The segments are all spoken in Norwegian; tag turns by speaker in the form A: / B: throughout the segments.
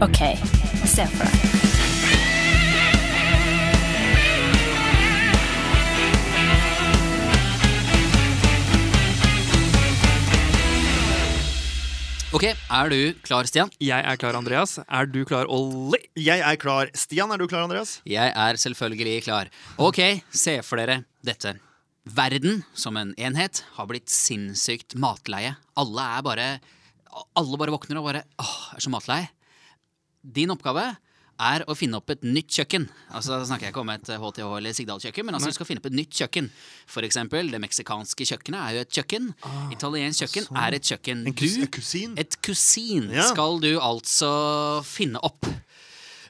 A: OK, se for deg.
B: Ok, er du klar, Stian?
C: Jeg er klar, Andreas. Er du klar, Olli?
D: Jeg er klar. Stian, er du klar, Andreas?
B: Jeg er selvfølgelig klar. Ok, se for dere dette. Verden som en enhet har blitt sinnssykt matleie. Alle er bare Alle bare våkner og bare åh, er så matleie. Din oppgave er å finne opp et nytt kjøkken. Altså da snakker jeg ikke om et HTH eller Sigdal-kjøkken, men altså du skal finne opp et nytt kjøkken. For eksempel, det meksikanske kjøkkenet er jo et kjøkken. Italiensk kjøkken er et kjøkken.
D: En kus- en kusin?
B: Et kusin
D: Ja.
B: skal du altså finne opp.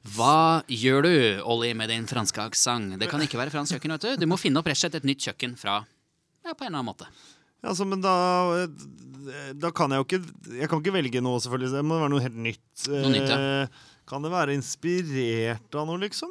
B: Hva gjør du, Olli, med din franske aksent? Det kan ikke være fransk kjøkken. vet Du Du må finne opp rett og slett et nytt kjøkken fra ja, på en eller annen måte.
D: Altså, men da Da kan jeg jo ikke Jeg kan ikke velge noe, selvfølgelig. Det må være noe helt nytt.
B: Noe nytt, ja.
D: Eh, Kan det være inspirert av noe, liksom?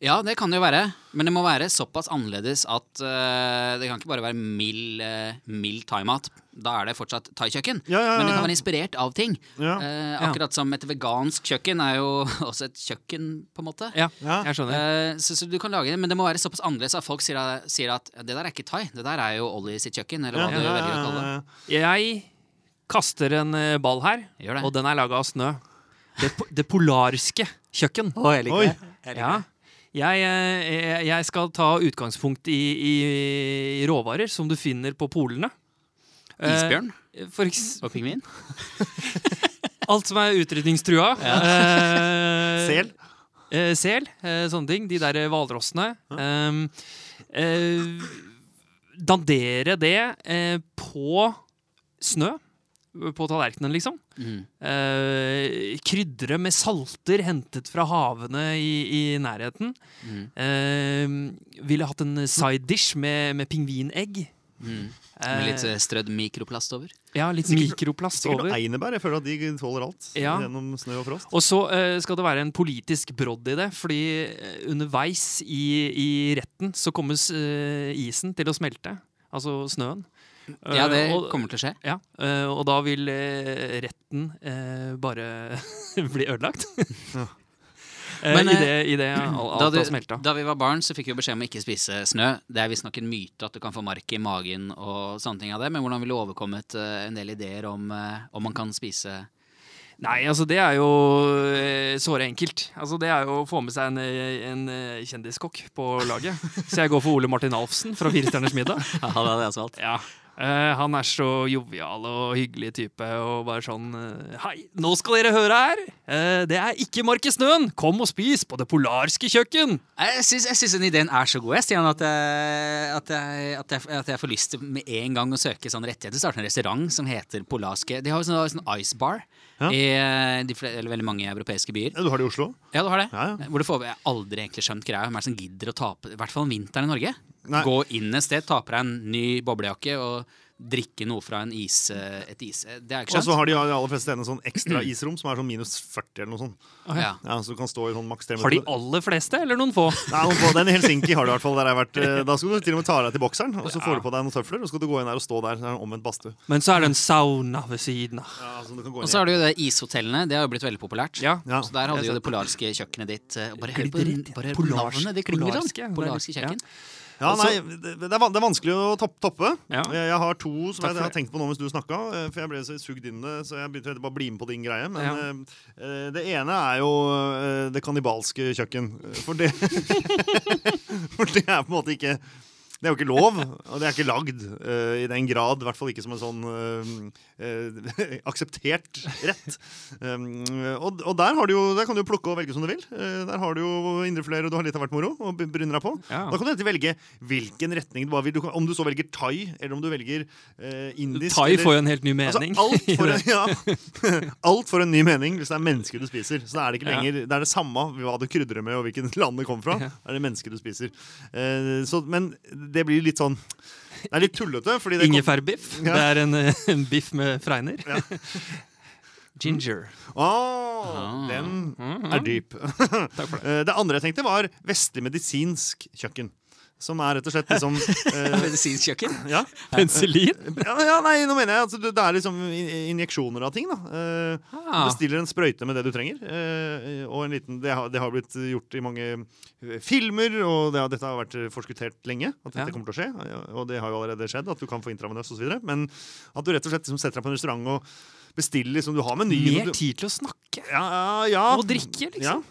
B: Ja, det kan det jo være, men det må være såpass annerledes at eh, det kan ikke bare være mild, uh, mild thaimat. Da er det fortsatt thaikjøkken.
D: Ja, ja, ja,
B: Men det kan
D: ja.
B: være inspirert av ting.
D: Ja.
B: Eh, akkurat som et vegansk kjøkken er jo også et kjøkken, på en måte.
C: Ja,
D: Ja.
C: jeg skjønner.
B: Eh, så, så du kan lage det, men det må være såpass annerledes at folk sier, sier at det der er ikke thai, det der er jo Ollie sitt kjøkken, eller hva
D: Ja,
B: du
D: ja,
B: velger å kalle det.
D: ja,
C: Jeg kaster en eh, ball her,
B: Gjør det.
C: og den er laga av snø. Det, po- det polarske kjøkken.
E: jeg
D: Oi.
E: liker det. Jeg liker
C: Ja.
E: det.
C: Jeg, eh, jeg- jeg skal ta utgangspunkt i, i råvarer som du finner på polene. Eh,
B: Isbjørn
C: For eks
B: og pingvin.
C: alt som er utrydningstrua.
D: ja.
C: Eh,
D: Sel?
C: Eh, sel, eh, sånne ting. De der hvalrossene. Eh, eh, dandere det eh, på snø. På tallerkenen, liksom.
B: Mm.
C: Eh, krydre med salter hentet fra havene i, i nærheten.
B: Mm.
C: Eh, ville hatt en side dish med, med pingvinegg.
B: Mm. Med
C: Eh,
B: litt eh, strødd mikroplast over.
C: ja, litt
D: Sikkert-
C: mikroplast
D: Sikkert
C: over.
D: noe einebær. Jeg føler at de tåler alt
C: Ja.
D: gjennom snø og frost.
C: Og så eh, skal det være en politisk brodd i det, fordi eh, underveis i, i retten så kommer s- eh, isen til å smelte. Altså snøen.
B: Ja, det
C: Eh, og,
B: kommer til å skje.
C: ja, eh, og da vil eh, retten eh, bare bli ødelagt. Eh,
B: Men,
C: i, det, I det al-
B: Mm.
C: alt
B: Da,
C: har smelta.
B: du, da vi var barn, så fikk vi beskjed om å ikke spise snø. Det er visstnok en myte at du kan få mark i magen og sånne ting av det, men hvordan ville du overkommet eh, en del ideer om eh, om man kan spise
C: Nei, altså det er jo eh, såre enkelt. Altså Det er jo å få med seg en, eh, en eh, kjendiskokk på laget. Så jeg går for Ole Martin Alfsen fra Fire stjerners middag.
B: Ja, det hadde jeg valgt.
C: Ja. Eh, han er så jovial og hyggelig type og bare sånn eh, Hei, nå skal dere høre her! Eh, det er ikke mark i snøen! Kom og spis på det polarske kjøkken!
B: Jeg syns, jeg syns den ideen er så god, jeg, Stian, at jeg, at, jeg, at, jeg, at jeg får lyst til med en gang å søke sånn rettigheter. Starte en restaurant som heter Polarske. De har jo sånn, sånn ice bar
D: Ja.
B: i eh, de, fle- eller veldig mange europeiske byer.
D: Ja, du har det i Oslo?
B: Ja, du har det.
D: Ja, ja.
B: Hvor du får, jeg har aldri egentlig skjønt greia. Hvem er det som gidder å tape, i hvert fall om vinteren i Norge?
D: Nei.
B: Gå inn et sted, ta på deg en ny boblejakke og drikke noe fra en is, eh, et is... Det er ikke
D: Og
B: skjønt.
D: så har de i de aller fleste stedene sånn ekstra isrom som er sånn minus 40 eller noe sånt.
B: ja.
D: Ja, så du kan stå i sånn maks 3
C: Har de aller fleste, eller noen få?
D: Nei, nå på den i Helsinki har du i hvert fall der jeg har vært. eh, Da skal du til og med ta deg til bokseren, og så får du på deg noen tøfler, og så skal du gå inn der og stå der. Det er en omvendt badstue.
C: Men så er det en sauna ved siden av.
D: Ja, altså, du kan gå
B: Og
D: inn
B: så
D: i-
B: har du jo det ishotellene. Det har jo blitt veldig populært.
C: Ja.
D: Ja.
B: Så der hadde du jo det polarske kjøkkenet ditt. eh, Bare hør på,
C: Glider rett i-
B: bare hør på
C: Polarsk-
B: navnet, det klinger
C: polarske,
B: sånn. Polarske
C: det er- ja.
B: kjøkken.
D: Ja,
C: Og
D: nei,
C: så-
D: det, det, er van, det er vanskelig å topp, toppe.
C: Ja.
D: Jeg, jeg har to
C: Takk
D: som jeg,
C: for
D: har tenkt på nå mens du snakka. eh, For jeg ble så sugd inn i det, så jeg begynte bare å bli med på din greie. Men eh, eh, det ene er jo eh, det kannibalske kjøkken. eh, For det, for det er på en måte ikke det er jo ikke lov, og det er ikke lagd eh, i den grad. I hvert fall ikke som en sånn eh, eh, akseptert rett. Um, og, og der, har du jo, der kan du jo plukke og velge som du vil. Eh, der har du jo indrefilet, og du har litt av hvert moro. og bryner deg på.
C: Ja.
D: Da kan du egentlig velge hvilken retning du bare vil. Du kan, om du så velger thai, eller om du velger eh, indisk.
C: Thai
D: eller-
C: får jo en helt ny mening.
D: Altså, alt, for en, ja, alt for en ny mening hvis det er mennesket du spiser. Så da er det ikke lenger, det er det samme hva du krydrer med og hvilken land det kommer fra. Da er det mennesket du spiser. Eh, så, men det blir litt sånn Det er litt tullete. Fordi det kom,
C: Ingefærbiff.
D: Ja.
C: Det er en, eh, en biff med fregner. Ginger.
D: Åh, den er dyp.
C: Ah. Mm-hmm. Takk for det.
D: Eh, det andre jeg tenkte, var vestlig medisinsk kjøkken. Som er rett og slett liksom eh,
B: Medisinsk kjøkken.
D: ja.
C: Penicillin?
D: Ja, ja, nei, nå mener jeg at det det er liksom in- injeksjoner av ting, da. Eh,
C: Ah.
D: Bestiller en sprøyte med det du trenger. eh, og en liten, det, har, det har blitt gjort i mange eh, filmer, og det har, dette har vært forskuttert lenge. At dette
C: Ja.
D: kommer til å skje, ja, og det har jo allerede skjedd. At du kan få intravenøs osv. Men at du rett og slett liksom, setter deg på en restaurant og bestiller liksom, Du har menyen.
C: Mer
D: og du-
C: tid til å snakke
D: Ja, ja, ja.
C: og drikke,
D: Ja.
C: liksom.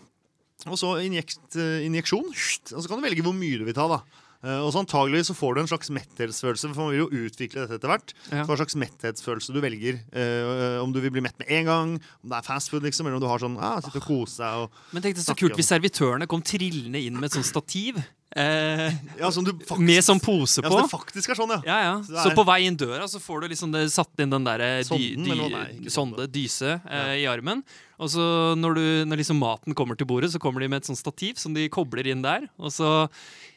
D: Og så injekt, eh, injeksjon, Sht. og så kan du velge hvor mye du vil ta. da. Eh, Og så antagelig så får du en slags metthetsfølelse, for man vil jo utvikle dette etter hvert.
C: Ja.
D: Så hva slags metthetsfølelse du velger. eh, om du vil bli mett med en gang, om det er fast food, liksom, eller om du har sånn ah, sitte og kose deg. og...
C: Men tenk det så
D: Snakke
C: kult
D: om-
C: hvis servitørene kom trillende inn med et sånt stativ. Eh,
D: Ja, som du faktisk,
C: med sånn pose
D: ja,
C: på.
D: så det faktisk er sånn, ja.
C: Ja, ja.
D: det er-
C: Så på vei inn døra så får du liksom det satt inn den der eh, dy,
D: Sonden,
C: dy,
D: eller hva? Nei, ikke
C: sonde, dyse, eh, i armen. Og så når, du, når liksom maten kommer til bordet, så kommer de med et sånt stativ som de kobler inn der. Og så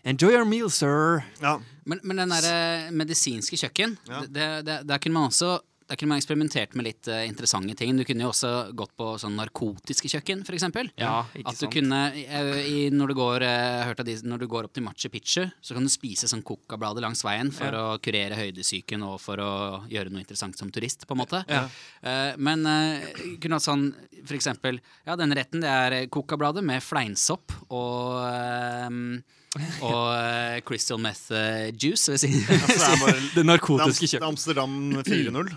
C: Enjoy your meal, sir.
D: ja.
B: Men, men den der eh, medisinske kjøkken,
D: Ja.
B: det, det, der kunne man også der kunne man eksperimentert med litt eh, interessante ting. Du kunne jo også gått på sånn narkotiske kjøkken, f.eks.
C: Ja, ikke
B: At du
C: sant.
B: kunne, eh, i, når, du går, eh, jeg har hørt at de, når du går opp til Machu Picchu, så kan du spise sånn coca-blader langs veien for å kurere høydesyken og for å gjøre noe interessant som turist, på en måte. Eh, men eh, kunne hatt sånn f.eks. Ja, denne retten det er coca-blader med fleinsopp og eh, og eh, crystal meth eh, juice, ved siden
D: Så Altså, det er bare
C: Det
D: det er
C: narkotiske
D: Amst- det er
C: kjøkkenet.
D: Amsterdam 4-0.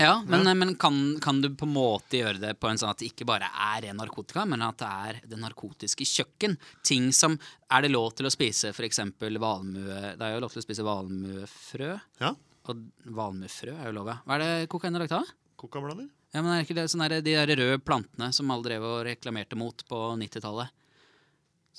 B: Ja, men, men kan, kan du på en måte gjøre det på en sånn at det ikke bare er ren narkotika, men at det er det narkotiske kjøkken? Ting som Er det lov til å spise f.eks. valmue Det er jo lov til å spise valmuefrø.
D: Ja.
B: Og valmuefrø er jo lov, ja. Hva er det kokain er lagt av?
D: Coca-blader?
B: Ja, men er det ikke det, sånn der, De der røde plantene som alle drev og reklamerte mot på 90-tallet?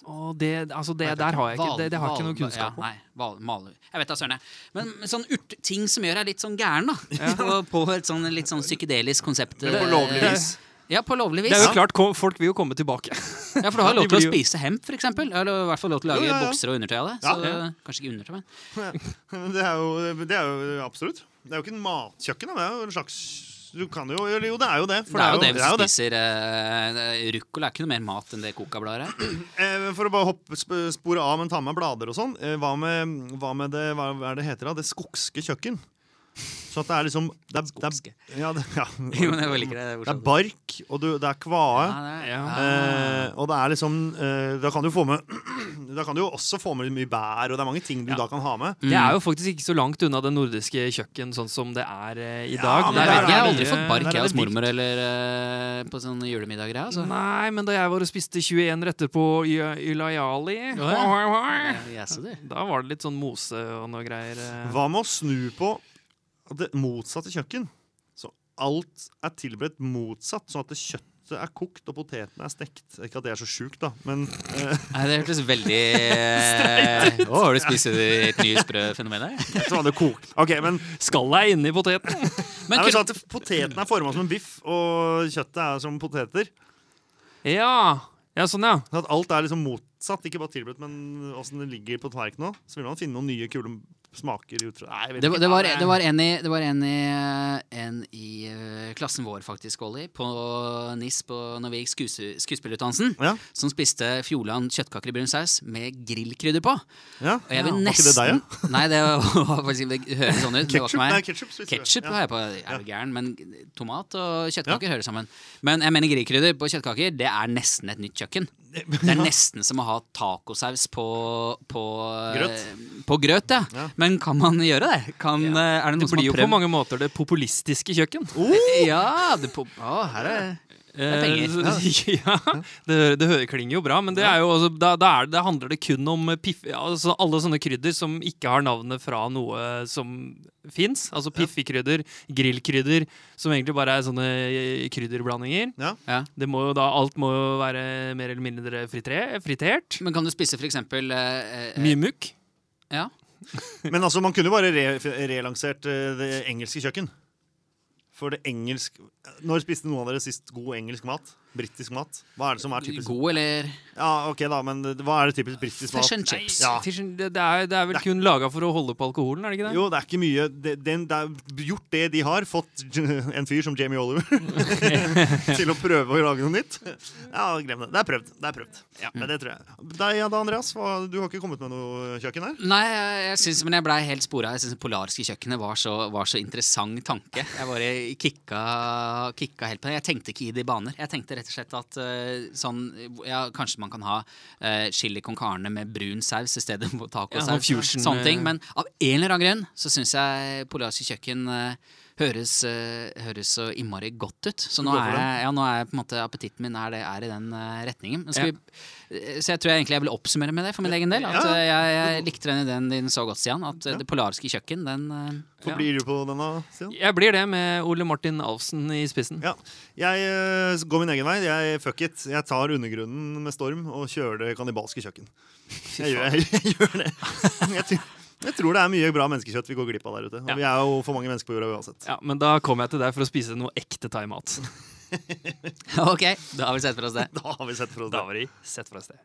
C: Å, det, altså det der har jeg ikke, det, det har jeg ikke noe
B: Val-
C: kunnskap om.
B: ja, nei, val, maler. Jeg vet da søren. jeg. Men sånn urt, ting som gjør deg litt sånn gæren, da. Og på et sånn litt sånn psykedelisk konsept.
D: Men på lovlig
B: eh,
D: vis.
B: Ja, på lovlig
C: Det
B: vis.
C: er jo klart, ko- Folk vil jo komme tilbake.
B: Ja, for du har
C: Ja, de
B: lov til å
C: blir jo-
B: spise hemp, for eksempel. Eller i hvert fall lov til å lage
D: Jo, ja, ja.
B: bukser og undertøy av det. Så
D: Ja.
B: kanskje ikke undertøy, men
D: Men Det er, jo, det er jo absolutt. Det er jo ikke en matkjøkken, da. det er jo en slags du kan jo, eller jo, det er jo det. for
B: det er jo det
D: det er jo det.
B: hvis du spiser eh, ruccola. Er ikke noe mer mat enn det kokablader er.
D: Eh, For å bare hoppe, sp- spore av, men ta med blader og sånn. eh, Hva med, hva med det, hva er det heter da? Det skogske kjøkken. Så at det er liksom det er,
B: Skogske.
D: Det er, ja, det, ja.
B: Jo, men jeg liker det. Det er
D: det er
B: morsomt.
D: bark, og du, det er kvae.
B: Ja, det er-
C: Ja.
D: Eh, og det er liksom eh, Da kan du få med Da kan du jo også få med mye bær, og det er mange ting du da kan ha med.
C: Det er jo faktisk ikke så langt unna det nordiske kjøkken sånn som det er eh, i dag.
D: men
B: Nei,
D: der
B: jeg
D: er
B: vet ikke, jeg har
D: det
B: aldri
D: mye-
B: fått
D: der
B: bark
D: er
B: jeg hos
D: det dyrt.
B: mormor eller eh, på sånne julemiddager. jeg, Altså.
C: Nei, men da jeg var og spiste 21 retter på Y- Ylayali
B: Jaså, du.
C: Da var det litt sånn mose og noe greier. eh.
D: Hva med å snu på det motsatte kjøkken? Så alt er tilberedt motsatt, sånn at det kjøttet er kokt og potetene er stekt. Ikke at det er så sjukt, da, men eh,
B: Nei, det hørtes veldig Streit ut. Har du spist et nytt sprø fenomen her?
D: jeg tror det er kokt. Ok, men
C: Skallet er inni poteten!
B: Men
D: Nei, men
B: kunne-
D: sånn at Poteten er forma som en biff, og kjøttet er som poteter.
C: Ja. ja, sånn ja.
D: Sånn at alt er liksom motsatt. Ikke bare tilberedt, men åssen det ligger på tallerkenen òg. Så vil man finne noen nye, kule smaker. Ut fra. Nei, jeg vet
B: Det, var-
D: ikke.
B: det, var, det var en i, det var en i, eh, en i eh, klassen vår, faktisk, Olli, på NIS på, når vi gikk skuesu- skuespillerutdannelsen,
D: Ja.
B: som spiste Fjordland kjøttkaker i brun saus med grillkrydder på.
D: Ja.
B: Og jeg vil
D: Var ikke
B: nesten
D: det deg, ja?
B: Nei, det, var, faktisk- det høres sånn ut. men Det var
D: Ketchup?
B: ikke meg.
D: Nei, ketchup spiser vi.
B: Ketchup
D: Ja.
B: har jeg på, er du gæren, men tomat og kjøttkaker hører sammen. Men jeg mener grillkrydder på kjøttkaker, det er nesten et nytt kjøkken. Det er nesten som å ha tacosaus på, på
D: Grøt.
B: På grøt, ja.
D: Ja.
B: Men kan man gjøre det? Kan, eh, Er det noen
C: Det
B: som
C: blir jo
B: har
C: på
B: prøvd?
C: mange måter det populistiske kjøkken.
B: Ja, det på, å, her er er penger.
C: Eh, ja, det, hø- det hø- klinger jo bra, men det er jo også, da, da, er, det- da handler det kun om eh, piff, altså alle sånne krydder som ikke har navnet fra noe som fins. Altså piffikrydder, grillkrydder, som egentlig bare er sånne eh, krydderblandinger.
D: Ja.
B: ja.
C: Det må jo da, alt må jo være mer eller mindre fritre, fritert.
B: Men kan du spise for eksempel eh, eh,
C: Mye mukk.
B: ja.
D: Men altså, man kunne jo bare re relansert eh, det engelske kjøkken. For det engelsk Når spiste noen av dere sist god engelsk mat? Britisk mat? Hva er det som er typisk?
B: God eller
D: Ja, ok da, men det- hva er det typisk britisk mat?
B: Fish and chips.
D: Ja.
C: Fish and- Det, det, er, det er vel kun laga for å holde på alkoholen, er det ikke det?
D: Jo, det er ikke mye det, den, det er Gjort det de har, fått en fyr som Jamie Oliver til å prøve å lage noe nytt. Ja, glem det. Det er prøvd. Det er prøvd. Ja, men det tror jeg. Deg, ja, da, Andreas, hva, du har ikke kommet med noe kjøkken her?
B: Nei, jeg, jeg synes, men jeg blei helt spora. Jeg syns det polarske kjøkkenet var så, var så interessant tanke. Jeg bare kicka, kicka helt på det. Jeg tenkte ikke i de baner. Jeg tenkte rett og slett at eh, sånn ja, Kanskje man kan ha eh, chili con carne med brun saus i stedet for tacosaus.
C: Ja, sånn fusion,
B: sånne ting.
C: eh.
B: Men av en eller annen grunn så syns jeg polarske kjøkken eh, høres, eh, høres så innmari godt ut. Så nå
D: går for
B: er,
D: den.
B: jeg, ja, nå er jeg på en måte appetitten min er, det, er i den eh, retningen. Men skal
C: Ja.
B: vi, eh, så jeg tror jeg egentlig jeg vil oppsummere med det for min egen del. At
D: Ja.
B: eh, jeg, jeg likte den ideen din så godt, Stian. At eh, det polarske kjøkken, den eh,
D: Hvor blir du på denne, Stian?
C: Jeg blir det med Ole Martin Alfsen i spissen.
D: Ja, Jeg eh, går min egen vei. Jeg fuck it. Jeg tar undergrunnen med storm og kjører det kannibalske kjøkken. Jeg gjør, jeg, gjør det. Jeg, tror- jeg tror det er mye bra menneskekjøtt vi går glipp av der ute.
C: Ja.
D: Og vi er jo for mange mennesker på jorda uansett.
C: Ja, Men da kom jeg til deg for å spise noe ekte thaimat.
B: Ok, da har vi sett for oss det.
D: Da har vi sett for oss
C: Da
D: det.
C: var de sett fra sted.